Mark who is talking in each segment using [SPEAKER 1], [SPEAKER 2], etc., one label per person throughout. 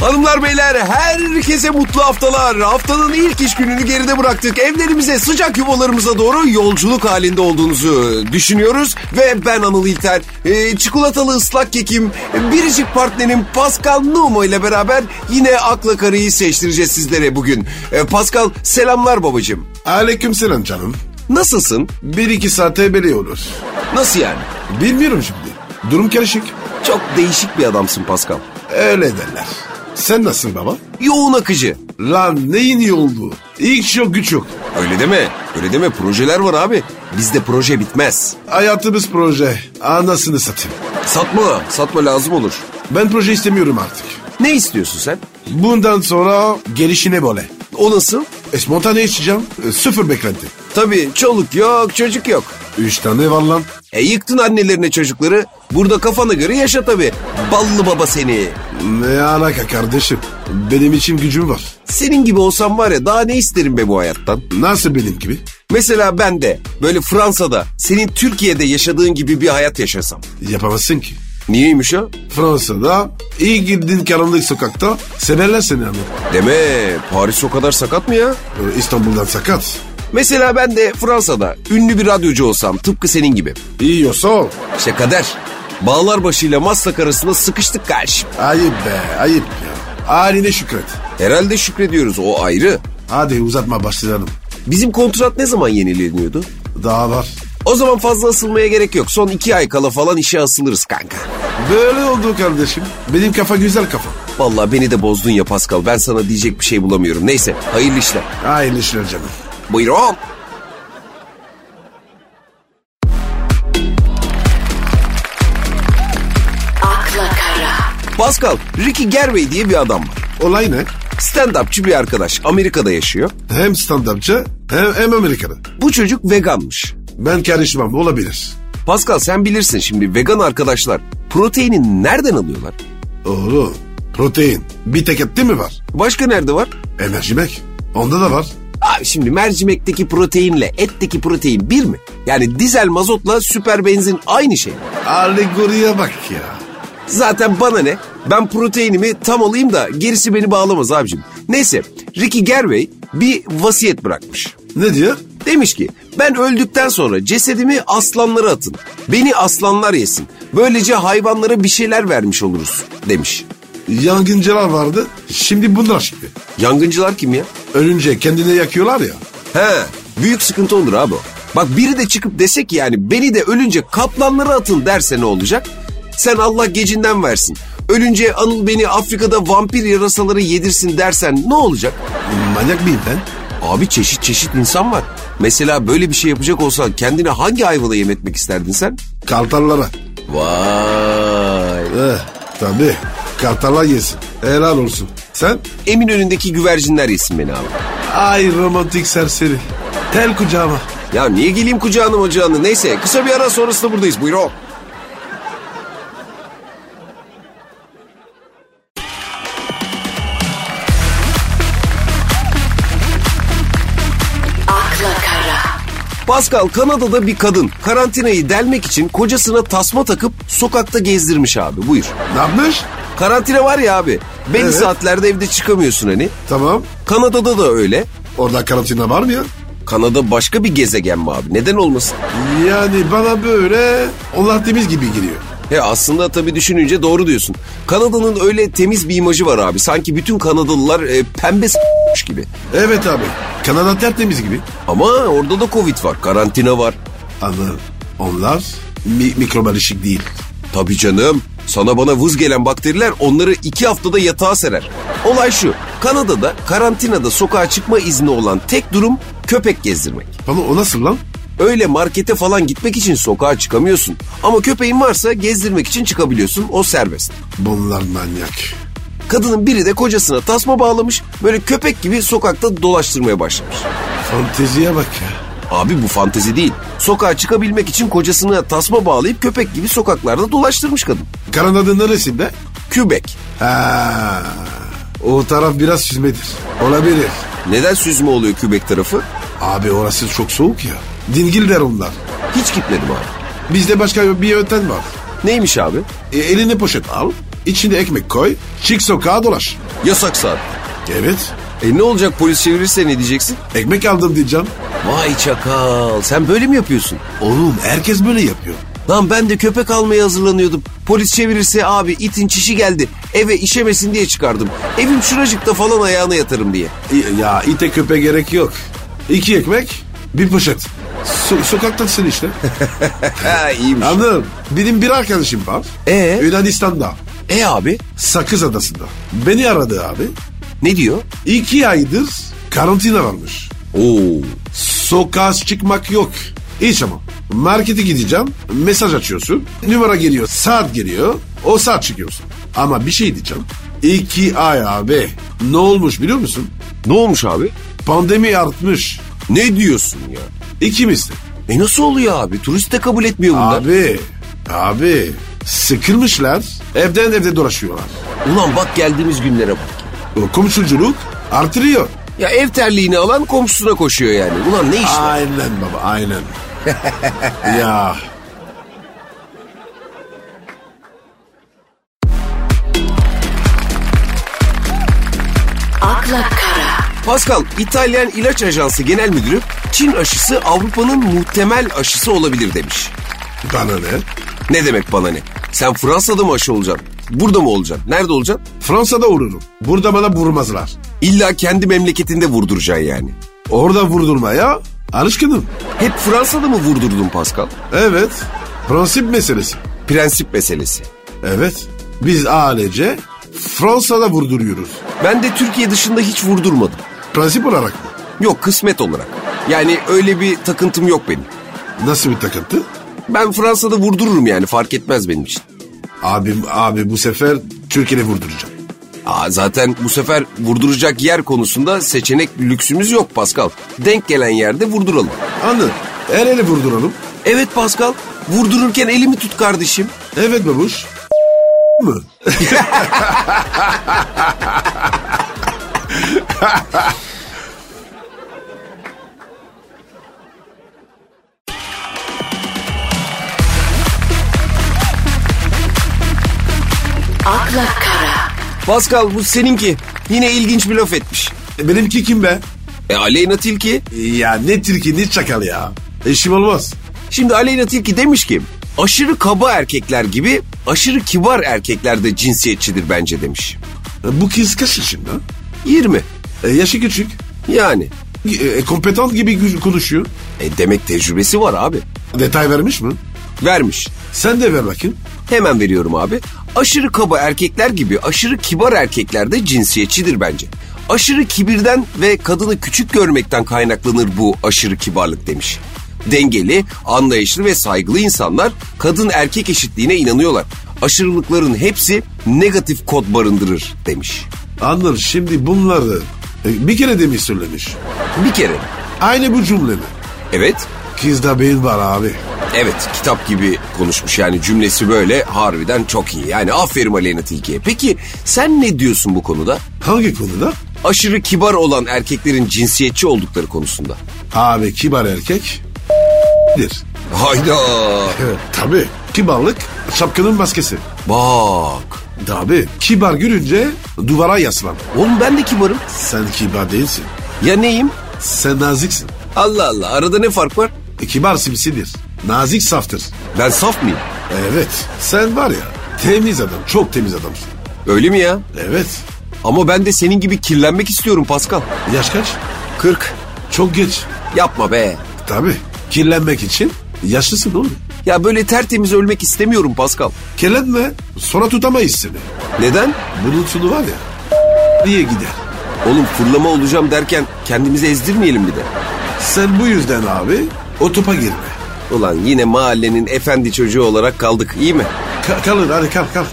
[SPEAKER 1] Hanımlar beyler herkese mutlu haftalar. Haftanın ilk iş gününü geride bıraktık. Evlerimize sıcak yuvalarımıza doğru yolculuk halinde olduğunuzu düşünüyoruz. Ve ben Anıl İlter. e, çikolatalı ıslak kekim, e, biricik partnerim Pascal Numa ile beraber yine akla karıyı seçtireceğiz sizlere bugün. E, Pascal selamlar babacığım.
[SPEAKER 2] Aleykümselam canım.
[SPEAKER 1] Nasılsın?
[SPEAKER 2] Bir iki saate beri olur.
[SPEAKER 1] Nasıl yani?
[SPEAKER 2] Bilmiyorum şimdi. Durum karışık.
[SPEAKER 1] Çok değişik bir adamsın Pascal.
[SPEAKER 2] Öyle derler. Sen nasılsın baba?
[SPEAKER 1] Yoğun akıcı.
[SPEAKER 2] Lan neyin iyi olduğu? İlk yok güç yok.
[SPEAKER 1] Öyle deme. Öyle deme. Projeler var abi. Bizde proje bitmez.
[SPEAKER 2] Hayatımız proje. Anasını satayım.
[SPEAKER 1] Satma. Satma lazım olur.
[SPEAKER 2] Ben proje istemiyorum artık.
[SPEAKER 1] Ne istiyorsun sen?
[SPEAKER 2] Bundan sonra gelişine böyle.
[SPEAKER 1] O nasıl?
[SPEAKER 2] E, spontane içeceğim. E, sıfır beklenti.
[SPEAKER 1] Tabii çoluk yok, çocuk yok.
[SPEAKER 2] Üç tane var lan.
[SPEAKER 1] E yıktın annelerine çocukları. Burada kafana göre yaşa tabii. Ballı baba seni.
[SPEAKER 2] Ne alaka kardeşim? Benim için gücüm var.
[SPEAKER 1] Senin gibi olsam var ya daha ne isterim be bu hayattan?
[SPEAKER 2] Nasıl benim gibi?
[SPEAKER 1] Mesela ben de böyle Fransa'da senin Türkiye'de yaşadığın gibi bir hayat yaşasam.
[SPEAKER 2] Yapamazsın ki.
[SPEAKER 1] Niyeymiş o?
[SPEAKER 2] Fransa'da iyi girdin karanlık sokakta severler seni abi.
[SPEAKER 1] Deme Paris o kadar sakat mı ya?
[SPEAKER 2] Ee, İstanbul'dan sakat.
[SPEAKER 1] Mesela ben de Fransa'da ünlü bir radyocu olsam tıpkı senin gibi.
[SPEAKER 2] İyi yoksa ol.
[SPEAKER 1] İşte kader. Bağlarbaşı ile Maslak arasında sıkıştık kardeşim.
[SPEAKER 2] Ayıp be ayıp ya. Haline şükret.
[SPEAKER 1] Herhalde şükrediyoruz o ayrı.
[SPEAKER 2] Hadi uzatma başlayalım.
[SPEAKER 1] Bizim kontrat ne zaman yenileniyordu?
[SPEAKER 2] Daha var.
[SPEAKER 1] O zaman fazla asılmaya gerek yok. Son iki ay kala falan işe asılırız kanka.
[SPEAKER 2] Böyle oldu kardeşim. Benim kafa güzel kafa.
[SPEAKER 1] Vallahi beni de bozdun ya Pascal. Ben sana diyecek bir şey bulamıyorum. Neyse hayırlı işler.
[SPEAKER 2] Aynı işler canım.
[SPEAKER 1] Buyurun.
[SPEAKER 3] akla kara,
[SPEAKER 1] Pascal, Ricky Gervais diye bir adam var.
[SPEAKER 2] Olay ne?
[SPEAKER 1] Stand-upçı bir arkadaş. Amerika'da yaşıyor.
[SPEAKER 2] Hem stand-upçı hem, hem Amerikalı.
[SPEAKER 1] Bu çocuk veganmış.
[SPEAKER 2] Ben karışmam olabilir.
[SPEAKER 1] Pascal sen bilirsin şimdi vegan arkadaşlar proteini nereden alıyorlar?
[SPEAKER 2] Oğlum protein bir tek ette mi var?
[SPEAKER 1] Başka nerede var?
[SPEAKER 2] E mercimek. Onda da var.
[SPEAKER 1] Abi şimdi mercimekteki proteinle etteki protein bir mi? Yani dizel mazotla süper benzin aynı şey mi?
[SPEAKER 2] Alegoriye bak ya.
[SPEAKER 1] Zaten bana ne? Ben proteinimi tam alayım da gerisi beni bağlamaz abicim. Neyse Ricky Gervais bir vasiyet bırakmış.
[SPEAKER 2] Ne diyor?
[SPEAKER 1] Demiş ki ben öldükten sonra cesedimi aslanlara atın. Beni aslanlar yesin. Böylece hayvanlara bir şeyler vermiş oluruz demiş.
[SPEAKER 2] Yangıncılar vardı. Şimdi bunlar çıktı.
[SPEAKER 1] Yangıncılar kim ya?
[SPEAKER 2] Ölünce kendini yakıyorlar ya.
[SPEAKER 1] He büyük sıkıntı olur abi o. Bak biri de çıkıp dese ki yani beni de ölünce kaplanlara atın derse ne olacak? Sen Allah gecinden versin. Ölünce Anıl beni Afrika'da vampir yarasaları yedirsin dersen ne olacak?
[SPEAKER 2] Manyak mıyım ben?
[SPEAKER 1] Abi çeşit çeşit insan var. Mesela böyle bir şey yapacak olsan kendine hangi hayvanı yem etmek isterdin sen?
[SPEAKER 2] Kartallara.
[SPEAKER 1] Vay.
[SPEAKER 2] Eh, tabii. Kartallar yesin. Helal olsun. Sen?
[SPEAKER 1] Emin önündeki güvercinler yesin beni abi.
[SPEAKER 2] Ay romantik serseri. Tel kucağıma.
[SPEAKER 1] Ya niye geleyim kucağına ocağına? Neyse kısa bir ara sonrasında buradayız. Buyurun.
[SPEAKER 3] akla kara,
[SPEAKER 1] Pascal Kanada'da bir kadın karantinayı delmek için kocasına tasma takıp sokakta gezdirmiş abi. Buyur.
[SPEAKER 2] Ne yapmış?
[SPEAKER 1] Karantina var ya abi. Belli
[SPEAKER 2] Evet.
[SPEAKER 1] saatlerde evde çıkamıyorsun hani.
[SPEAKER 2] Tamam.
[SPEAKER 1] Kanada'da da öyle.
[SPEAKER 2] Orada karantina var mı ya?
[SPEAKER 1] Kanada başka bir gezegen mi abi? Neden olmasın?
[SPEAKER 2] Yani bana böyle onlar temiz gibi giriyor.
[SPEAKER 1] He E, aslında tabii düşününce doğru diyorsun. Kanada'nın öyle temiz bir imajı var abi. Sanki bütün Kanadalılar e, pembe s**mış gibi.
[SPEAKER 2] Evet abi. Kanada tertemiz gibi.
[SPEAKER 1] Ama orada da Covid var, karantina var.
[SPEAKER 2] Anladım. Onlar mi mikrobalışık değil.
[SPEAKER 1] Tabii canım. Sana bana vız gelen bakteriler onları iki haftada yatağa serer. Olay şu. Kanada'da karantinada sokağa çıkma izni olan tek durum köpek gezdirmek.
[SPEAKER 2] Ama o nasıl lan?
[SPEAKER 1] Öyle markete falan gitmek için sokağa çıkamıyorsun. Ama köpeğin varsa gezdirmek için çıkabiliyorsun. O serbest.
[SPEAKER 2] Bunlar manyak.
[SPEAKER 1] Kadının biri de kocasına tasma bağlamış. Böyle köpek gibi sokakta dolaştırmaya başlamış.
[SPEAKER 2] Fanteziye bak ya.
[SPEAKER 1] Abi bu fantezi değil. Sokağa çıkabilmek için kocasına tasma bağlayıp köpek gibi sokaklarda dolaştırmış kadın.
[SPEAKER 2] Kanada'nın neresi be?
[SPEAKER 1] Kübek.
[SPEAKER 2] Ha, o taraf biraz süzmedir. Olabilir.
[SPEAKER 1] Neden süzme oluyor Kübek tarafı?
[SPEAKER 2] Abi orası çok soğuk ya. Dingildir onlar.
[SPEAKER 1] Hiç gitmedim abi.
[SPEAKER 2] Bizde başka bir yöntem var.
[SPEAKER 1] Neymiş abi?
[SPEAKER 2] E, eline poşet al. içinde ekmek koy, çık sokağa dolaş.
[SPEAKER 1] Yasak saat.
[SPEAKER 2] Evet,
[SPEAKER 1] E ne olacak polis çevirirse ne diyeceksin?
[SPEAKER 2] ekmek aldım diyeceğim.
[SPEAKER 1] Vay çakal sen böyle mi yapıyorsun?
[SPEAKER 2] Oğlum herkes böyle yapıyor.
[SPEAKER 1] Lan ben de köpek almaya hazırlanıyordum. Polis çevirirse abi itin çişi geldi. Eve işemesin diye çıkardım. Evim şuracıkta falan ayağına yatarım diye.
[SPEAKER 2] İ- E, Ya ite köpe gerek yok. İki ekmek, bir poşet. So- sokaktasın işte.
[SPEAKER 1] Ha iyiymiş.
[SPEAKER 2] Anladın? Benim bir arkadaşım var.
[SPEAKER 1] Ee?
[SPEAKER 2] Yunanistan'da.
[SPEAKER 1] E abi
[SPEAKER 2] Sakız Adası'nda. Beni aradı abi.
[SPEAKER 1] ne diyor?
[SPEAKER 2] İki aydır karantina varmış.
[SPEAKER 1] Oo.
[SPEAKER 2] Sokağa çıkmak yok. Hiç ama. Markete gideceğim. Mesaj açıyorsun. Numara geliyor. Saat geliyor. O saat çıkıyorsun. Ama bir şey diyeceğim. İki ay abi. Ne olmuş biliyor musun?
[SPEAKER 1] Ne olmuş abi?
[SPEAKER 2] Pandemi artmış.
[SPEAKER 1] Ne diyorsun ya?
[SPEAKER 2] İkimiz de.
[SPEAKER 1] E nasıl oluyor abi? Turist de kabul etmiyor bunlar.
[SPEAKER 2] Abi. Abi. Sıkılmışlar. Evden evde dolaşıyorlar.
[SPEAKER 1] Ulan bak geldiğimiz günlere bak.
[SPEAKER 2] O Komşuculuk artırıyor.
[SPEAKER 1] Ya ev terliğini alan komşusuna koşuyor yani. Ulan ne iş var?
[SPEAKER 2] Aynen baba aynen. ya
[SPEAKER 3] akla kara,
[SPEAKER 1] Pascal, İtalyan İlaç Ajansı Genel Müdürü Çin aşısı Avrupa'nın muhtemel aşısı olabilir demiş.
[SPEAKER 2] bana ne?
[SPEAKER 1] Ne demek bana ne? Sen Fransa'da mı aşı olacaksın? Burada mı olacaksın? Nerede olacaksın?
[SPEAKER 2] Fransa'da vururum. Burada bana vurmazlar.
[SPEAKER 1] İlla kendi memleketinde vurduracaksın yani.
[SPEAKER 2] Orada vurdurmaya alışkınım.
[SPEAKER 1] Hep Fransa'da mı vurdurdun Pascal?
[SPEAKER 2] Evet. Prensip meselesi.
[SPEAKER 1] Prensip meselesi.
[SPEAKER 2] Evet. Biz ailece Fransa'da vurduruyoruz.
[SPEAKER 1] Ben de Türkiye dışında hiç vurdurmadım.
[SPEAKER 2] Prensip olarak mı?
[SPEAKER 1] Yok kısmet olarak. Yani öyle bir takıntım yok benim.
[SPEAKER 2] Nasıl bir takıntı?
[SPEAKER 1] Ben Fransa'da vurdururum yani fark etmez benim için.
[SPEAKER 2] Abim abi bu sefer Türkiye'de vurduracağım.
[SPEAKER 1] Aa, zaten bu sefer vurduracak yer konusunda seçenek lüksümüz yok Pascal. Denk gelen yerde vurduralım.
[SPEAKER 2] Anladın? El ele vurduralım.
[SPEAKER 1] Evet Pascal, vurdururken elimi tut kardeşim.
[SPEAKER 2] Evet babuş. mı?
[SPEAKER 3] akla kara,
[SPEAKER 1] Pascal bu seninki. Yine ilginç bir laf etmiş.
[SPEAKER 2] Benimki kim be?
[SPEAKER 1] E Aleyna Tilki?
[SPEAKER 2] Ya ne Türkiye ne çakal ya. Eşim olmaz.
[SPEAKER 1] Şimdi Aleyna Tilki demiş ki aşırı kaba erkekler gibi aşırı kibar erkekler de cinsiyetçidir bence demiş.
[SPEAKER 2] E, Bu kız kaç yaşında?
[SPEAKER 1] 20.
[SPEAKER 2] E, yaşı küçük.
[SPEAKER 1] Yani.
[SPEAKER 2] E, E, kompetant gibi gü- konuşuyor.
[SPEAKER 1] E demek tecrübesi var abi.
[SPEAKER 2] Detay vermiş mi?
[SPEAKER 1] Vermiş.
[SPEAKER 2] Sen de ver bakayım.
[SPEAKER 1] Hemen veriyorum abi. Aşırı kaba erkekler gibi aşırı kibar erkekler de cinsiyetçidir bence. Aşırı kibirden ve kadını küçük görmekten kaynaklanır bu aşırı kibarlık demiş. Dengeli, anlayışlı ve saygılı insanlar kadın erkek eşitliğine inanıyorlar. Aşırılıkların hepsi negatif kod barındırır demiş.
[SPEAKER 2] Anlar şimdi bunları e, bir kere demiş söylemiş.
[SPEAKER 1] Bir kere.
[SPEAKER 2] Aynı bu cümle mi?
[SPEAKER 1] Evet.
[SPEAKER 2] Kızda beyin var abi.
[SPEAKER 1] Evet kitap gibi konuşmuş yani cümlesi böyle harbiden çok iyi. Yani aferin Aleyna Tilki'ye. Peki sen ne diyorsun bu konuda?
[SPEAKER 2] Hangi konuda?
[SPEAKER 1] aşırı kibar olan erkeklerin cinsiyetçi oldukları konusunda.
[SPEAKER 2] Abi kibar erkek dir.
[SPEAKER 1] Hayda.
[SPEAKER 2] Evet, tabii. Kibarlık şapkanın maskesi.
[SPEAKER 1] Bak.
[SPEAKER 2] Tabii. Kibar gülünce duvara yaslan.
[SPEAKER 1] Oğlum ben de kibarım.
[SPEAKER 2] Sen kibar değilsin.
[SPEAKER 1] Ya neyim?
[SPEAKER 2] Sen naziksin.
[SPEAKER 1] Allah Allah arada ne fark var?
[SPEAKER 2] E, kibar simsidir. Nazik saftır.
[SPEAKER 1] Ben saf mıyım?
[SPEAKER 2] Evet. Sen var ya temiz adam. Çok temiz adamsın.
[SPEAKER 1] Öyle mi ya?
[SPEAKER 2] Evet.
[SPEAKER 1] Ama ben de senin gibi kirlenmek istiyorum Pascal.
[SPEAKER 2] Yaş kaç?
[SPEAKER 1] 40.
[SPEAKER 2] Çok geç.
[SPEAKER 1] Yapma be.
[SPEAKER 2] Tabii. Kirlenmek için yaşlısın oğlum.
[SPEAKER 1] Ya böyle tertemiz ölmek istemiyorum Pascal.
[SPEAKER 2] Kirlenme. Sonra tutamayız seni.
[SPEAKER 1] Neden?
[SPEAKER 2] Bunun sonu var ya. Niye gider?
[SPEAKER 1] Oğlum fırlama olacağım derken kendimizi ezdirmeyelim bir de.
[SPEAKER 2] Sen bu yüzden abi o topa girme.
[SPEAKER 1] Ulan yine mahallenin efendi çocuğu olarak kaldık iyi mi?
[SPEAKER 2] Ka- kalın hadi kal kal.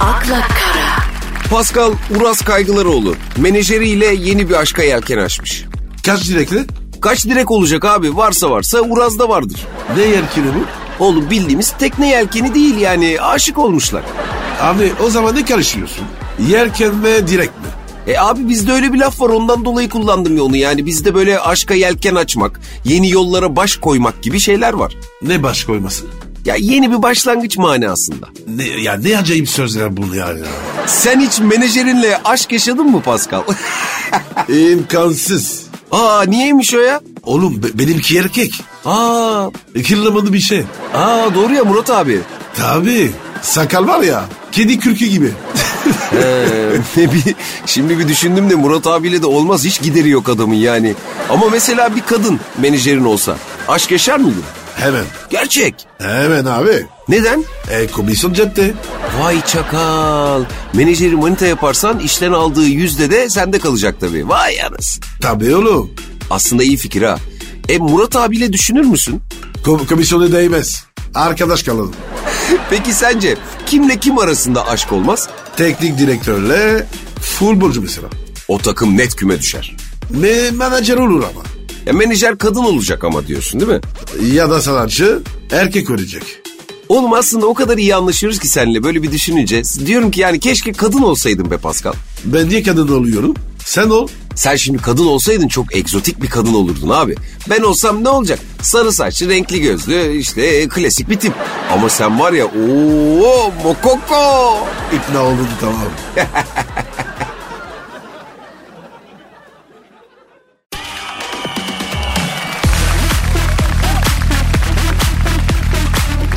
[SPEAKER 3] akla kara,
[SPEAKER 1] Pascal Uras Kaygılaroğlu menajeriyle yeni bir aşka yelken açmış.
[SPEAKER 2] Kaç direkli?
[SPEAKER 1] Kaç direk olacak abi? Varsa varsa Uraz'da vardır.
[SPEAKER 2] Ne yerkini bu?
[SPEAKER 1] Oğlum bildiğimiz tekne yelkeni değil yani aşık olmuşlar.
[SPEAKER 2] Abi o zaman ne karışıyorsun? Yerken mi direk mi?
[SPEAKER 1] E abi bizde öyle bir laf var ondan dolayı kullandım ya onu yani bizde böyle aşka yelken açmak, yeni yollara baş koymak gibi şeyler var.
[SPEAKER 2] Ne baş koyması?
[SPEAKER 1] Ya yeni bir başlangıç manasında.
[SPEAKER 2] Ne, ya ne acayip sözler bunu yani.
[SPEAKER 1] Sen hiç menajerinle aşk yaşadın mı Pascal?
[SPEAKER 2] İmkansız.
[SPEAKER 1] Aa niyeymiş o ya?
[SPEAKER 2] Oğlum be- benimki erkek.
[SPEAKER 1] Aa,
[SPEAKER 2] Kırılamadı bir şey.
[SPEAKER 1] aa doğru ya Murat abi.
[SPEAKER 2] Tabii. Sakal var ya. Kedi kürkü gibi.
[SPEAKER 1] Ee, Ne bir- şimdi bir düşündüm de Murat abiyle de olmaz hiç gideri yok adamın yani. Ama mesela bir kadın menajerin olsa aşk yaşar mıydın?
[SPEAKER 2] Hemen.
[SPEAKER 1] Gerçek.
[SPEAKER 2] Hemen abi.
[SPEAKER 1] Neden?
[SPEAKER 2] E komisyon cepte.
[SPEAKER 1] Vay çakal. Menajeri manita yaparsan işten aldığı yüzde de sende kalacak tabii. Vay anasın.
[SPEAKER 2] Tabii oğlum.
[SPEAKER 1] Aslında iyi fikir ha. E Murat abiyle düşünür müsün?
[SPEAKER 2] Ko- komisyona değmez. Arkadaş kalalım.
[SPEAKER 1] Peki sence kimle kim arasında aşk olmaz?
[SPEAKER 2] Teknik direktörle futbolcu mesela.
[SPEAKER 1] O takım net küme düşer.
[SPEAKER 2] Me menajer olur ama.
[SPEAKER 1] Ya menajer kadın olacak ama diyorsun değil mi?
[SPEAKER 2] Ya da sanatçı erkek ölecek.
[SPEAKER 1] Oğlum aslında o kadar iyi anlaşıyoruz ki seninle böyle bir düşününce. Diyorum ki yani keşke kadın olsaydın be Pascal.
[SPEAKER 2] Ben niye kadın oluyorum? Sen ol.
[SPEAKER 1] Sen şimdi kadın olsaydın çok egzotik bir kadın olurdun abi. Ben olsam ne olacak? Sarı saçlı, renkli gözlü, işte e, klasik bir tip. Ama sen var ya ooo mokoko.
[SPEAKER 2] İkna oldun tamam.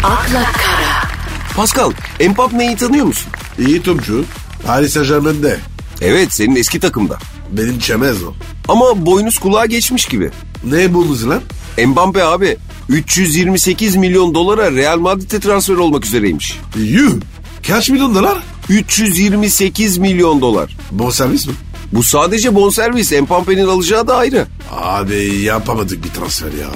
[SPEAKER 3] akla kara,
[SPEAKER 1] Pascal, Mbappe'yi tanıyor musun?
[SPEAKER 2] İyi topçu. Paris Saint Germain'de.
[SPEAKER 1] Evet, senin eski takımda.
[SPEAKER 2] Benim çemez o.
[SPEAKER 1] Ama boynuz kulağa geçmiş gibi.
[SPEAKER 2] Ne buldunuz lan?
[SPEAKER 1] Mbappe abi 328 milyon dolara Real Madrid'e transfer olmak üzereymiş.
[SPEAKER 2] Yuh. Kaç milyon dolar?
[SPEAKER 1] 328 milyon dolar.
[SPEAKER 2] Bon servis mi?
[SPEAKER 1] Bu sadece bonservis. Mbappe'nin alacağı da ayrı.
[SPEAKER 2] Abi yapamadık bir transfer ya.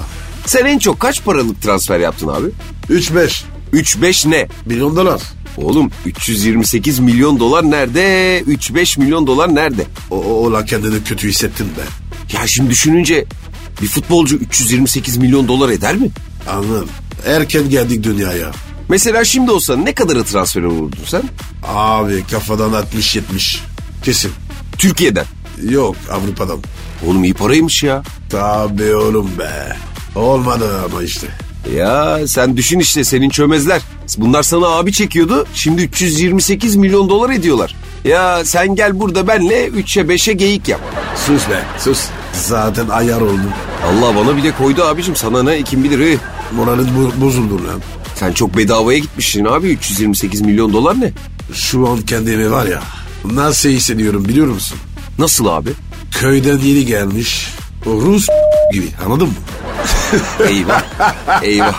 [SPEAKER 1] Sen en çok kaç paralık transfer yaptın abi?
[SPEAKER 2] 3-5
[SPEAKER 1] 3-5 ne?
[SPEAKER 2] milyon dolar.
[SPEAKER 1] Oğlum 328 milyon dolar nerede? 3-5 milyon dolar nerede?
[SPEAKER 2] O, o, o lan kendini kötü hissettin be.
[SPEAKER 1] Ya şimdi düşününce bir futbolcu 328 milyon dolar eder mi?
[SPEAKER 2] Anladım. Erken geldik dünyaya.
[SPEAKER 1] Mesela şimdi olsa ne kadara transfer olurdun sen?
[SPEAKER 2] Abi kafadan 60-70. Kesin.
[SPEAKER 1] Türkiye'den.
[SPEAKER 2] Yok Avrupa'dan.
[SPEAKER 1] Oğlum iyi paraymış ya.
[SPEAKER 2] Tabii oğlum be. Olmadı ama işte.
[SPEAKER 1] Ya sen düşün işte senin çömezler. Bunlar sana abi çekiyordu. Şimdi 328 milyon dolar ediyorlar. Ya sen gel burada benle 3'e 5'e geyik yap.
[SPEAKER 2] Sus be sus. Zaten ayar oldum.
[SPEAKER 1] Allah bana bile koydu abicim sana ne kim bilir. eh.
[SPEAKER 2] Moralin bo- bozuldu lan.
[SPEAKER 1] Sen çok bedavaya gitmişsin abi 328 milyon dolar ne?
[SPEAKER 2] Şu an kendimi var ya. Nasıl hissediyorum biliyor musun?
[SPEAKER 1] Nasıl abi?
[SPEAKER 2] Köyden yeni gelmiş. o Rus gibi anladın mı?
[SPEAKER 1] Eyvah. Eyvah.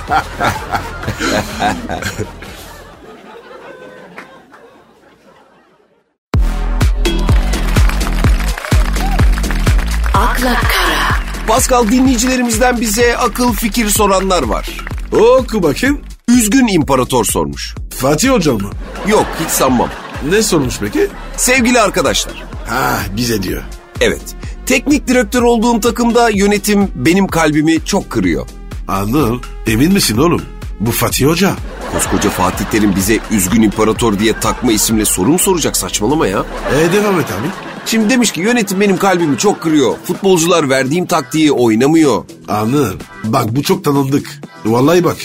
[SPEAKER 3] akla kara,
[SPEAKER 1] Pascal dinleyicilerimizden bize akıl fikir soranlar var.
[SPEAKER 2] Oku bakayım.
[SPEAKER 1] Üzgün imparator sormuş.
[SPEAKER 2] Fatih Hoca mı?
[SPEAKER 1] Yok hiç sanmam.
[SPEAKER 2] Ne sormuş peki?
[SPEAKER 1] Sevgili arkadaşlar.
[SPEAKER 2] Ha bize diyor.
[SPEAKER 1] Evet. Teknik direktör olduğum takımda yönetim benim kalbimi çok kırıyor.
[SPEAKER 2] Anıl emin misin oğlum? Bu Fatih Hoca.
[SPEAKER 1] Koskoca Fatih Terim bize üzgün imparator diye takma isimle soru mu soracak saçmalama ya.
[SPEAKER 2] E devam et abi.
[SPEAKER 1] Şimdi demiş ki yönetim benim kalbimi çok kırıyor. Futbolcular verdiğim taktiği oynamıyor.
[SPEAKER 2] Anıl bak bu çok tanındık. Vallahi bak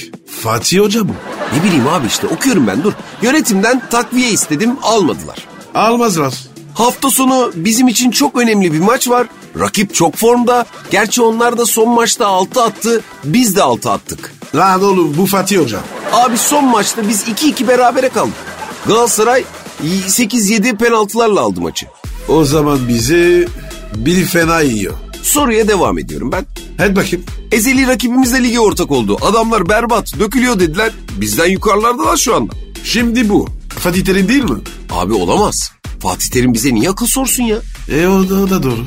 [SPEAKER 2] Fatih Hoca bu.
[SPEAKER 1] Ne bileyim abi işte okuyorum ben dur. Yönetimden takviye istedim almadılar.
[SPEAKER 2] Almazlar.
[SPEAKER 1] Hafta sonu bizim için çok önemli bir maç var. Rakip çok formda. Gerçi onlar da son maçta 6 attı. Biz de 6 attık.
[SPEAKER 2] Lan oğlum bu Fatih Hoca.
[SPEAKER 1] Abi son maçta biz 2-2 berabere kaldık. Galatasaray 8-7 penaltılarla aldı maçı.
[SPEAKER 2] O zaman bizi bir fena yiyor.
[SPEAKER 1] Soruya devam ediyorum ben.
[SPEAKER 2] Hadi bakayım.
[SPEAKER 1] Ezeli rakibimiz de lige ortak oldu. Adamlar berbat, dökülüyor dediler. Bizden yukarılardalar şu anda.
[SPEAKER 2] Şimdi bu. Fatih Terim değil mi?
[SPEAKER 1] Abi olamaz. Fatih Terim bize niye akıl sorsun ya?
[SPEAKER 2] E o da, o da doğru.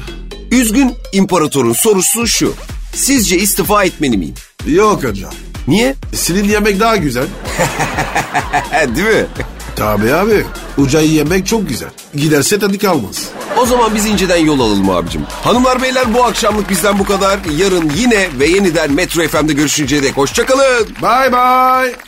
[SPEAKER 1] Üzgün imparatorun sorusu şu. Sizce istifa etmeli miyim?
[SPEAKER 2] Yok hocam.
[SPEAKER 1] Niye?
[SPEAKER 2] Senin yemek daha güzel.
[SPEAKER 1] He, E, değil mi?
[SPEAKER 2] Tabii abi. Ucayı yemek çok güzel. Giderse tadı kalmaz.
[SPEAKER 1] O zaman biz inceden yol alalım abicim. Hanımlar beyler bu akşamlık bizden bu kadar. Yarın yine ve yeniden Metro FM'de görüşünceye dek hoşçakalın.
[SPEAKER 2] Bye bye.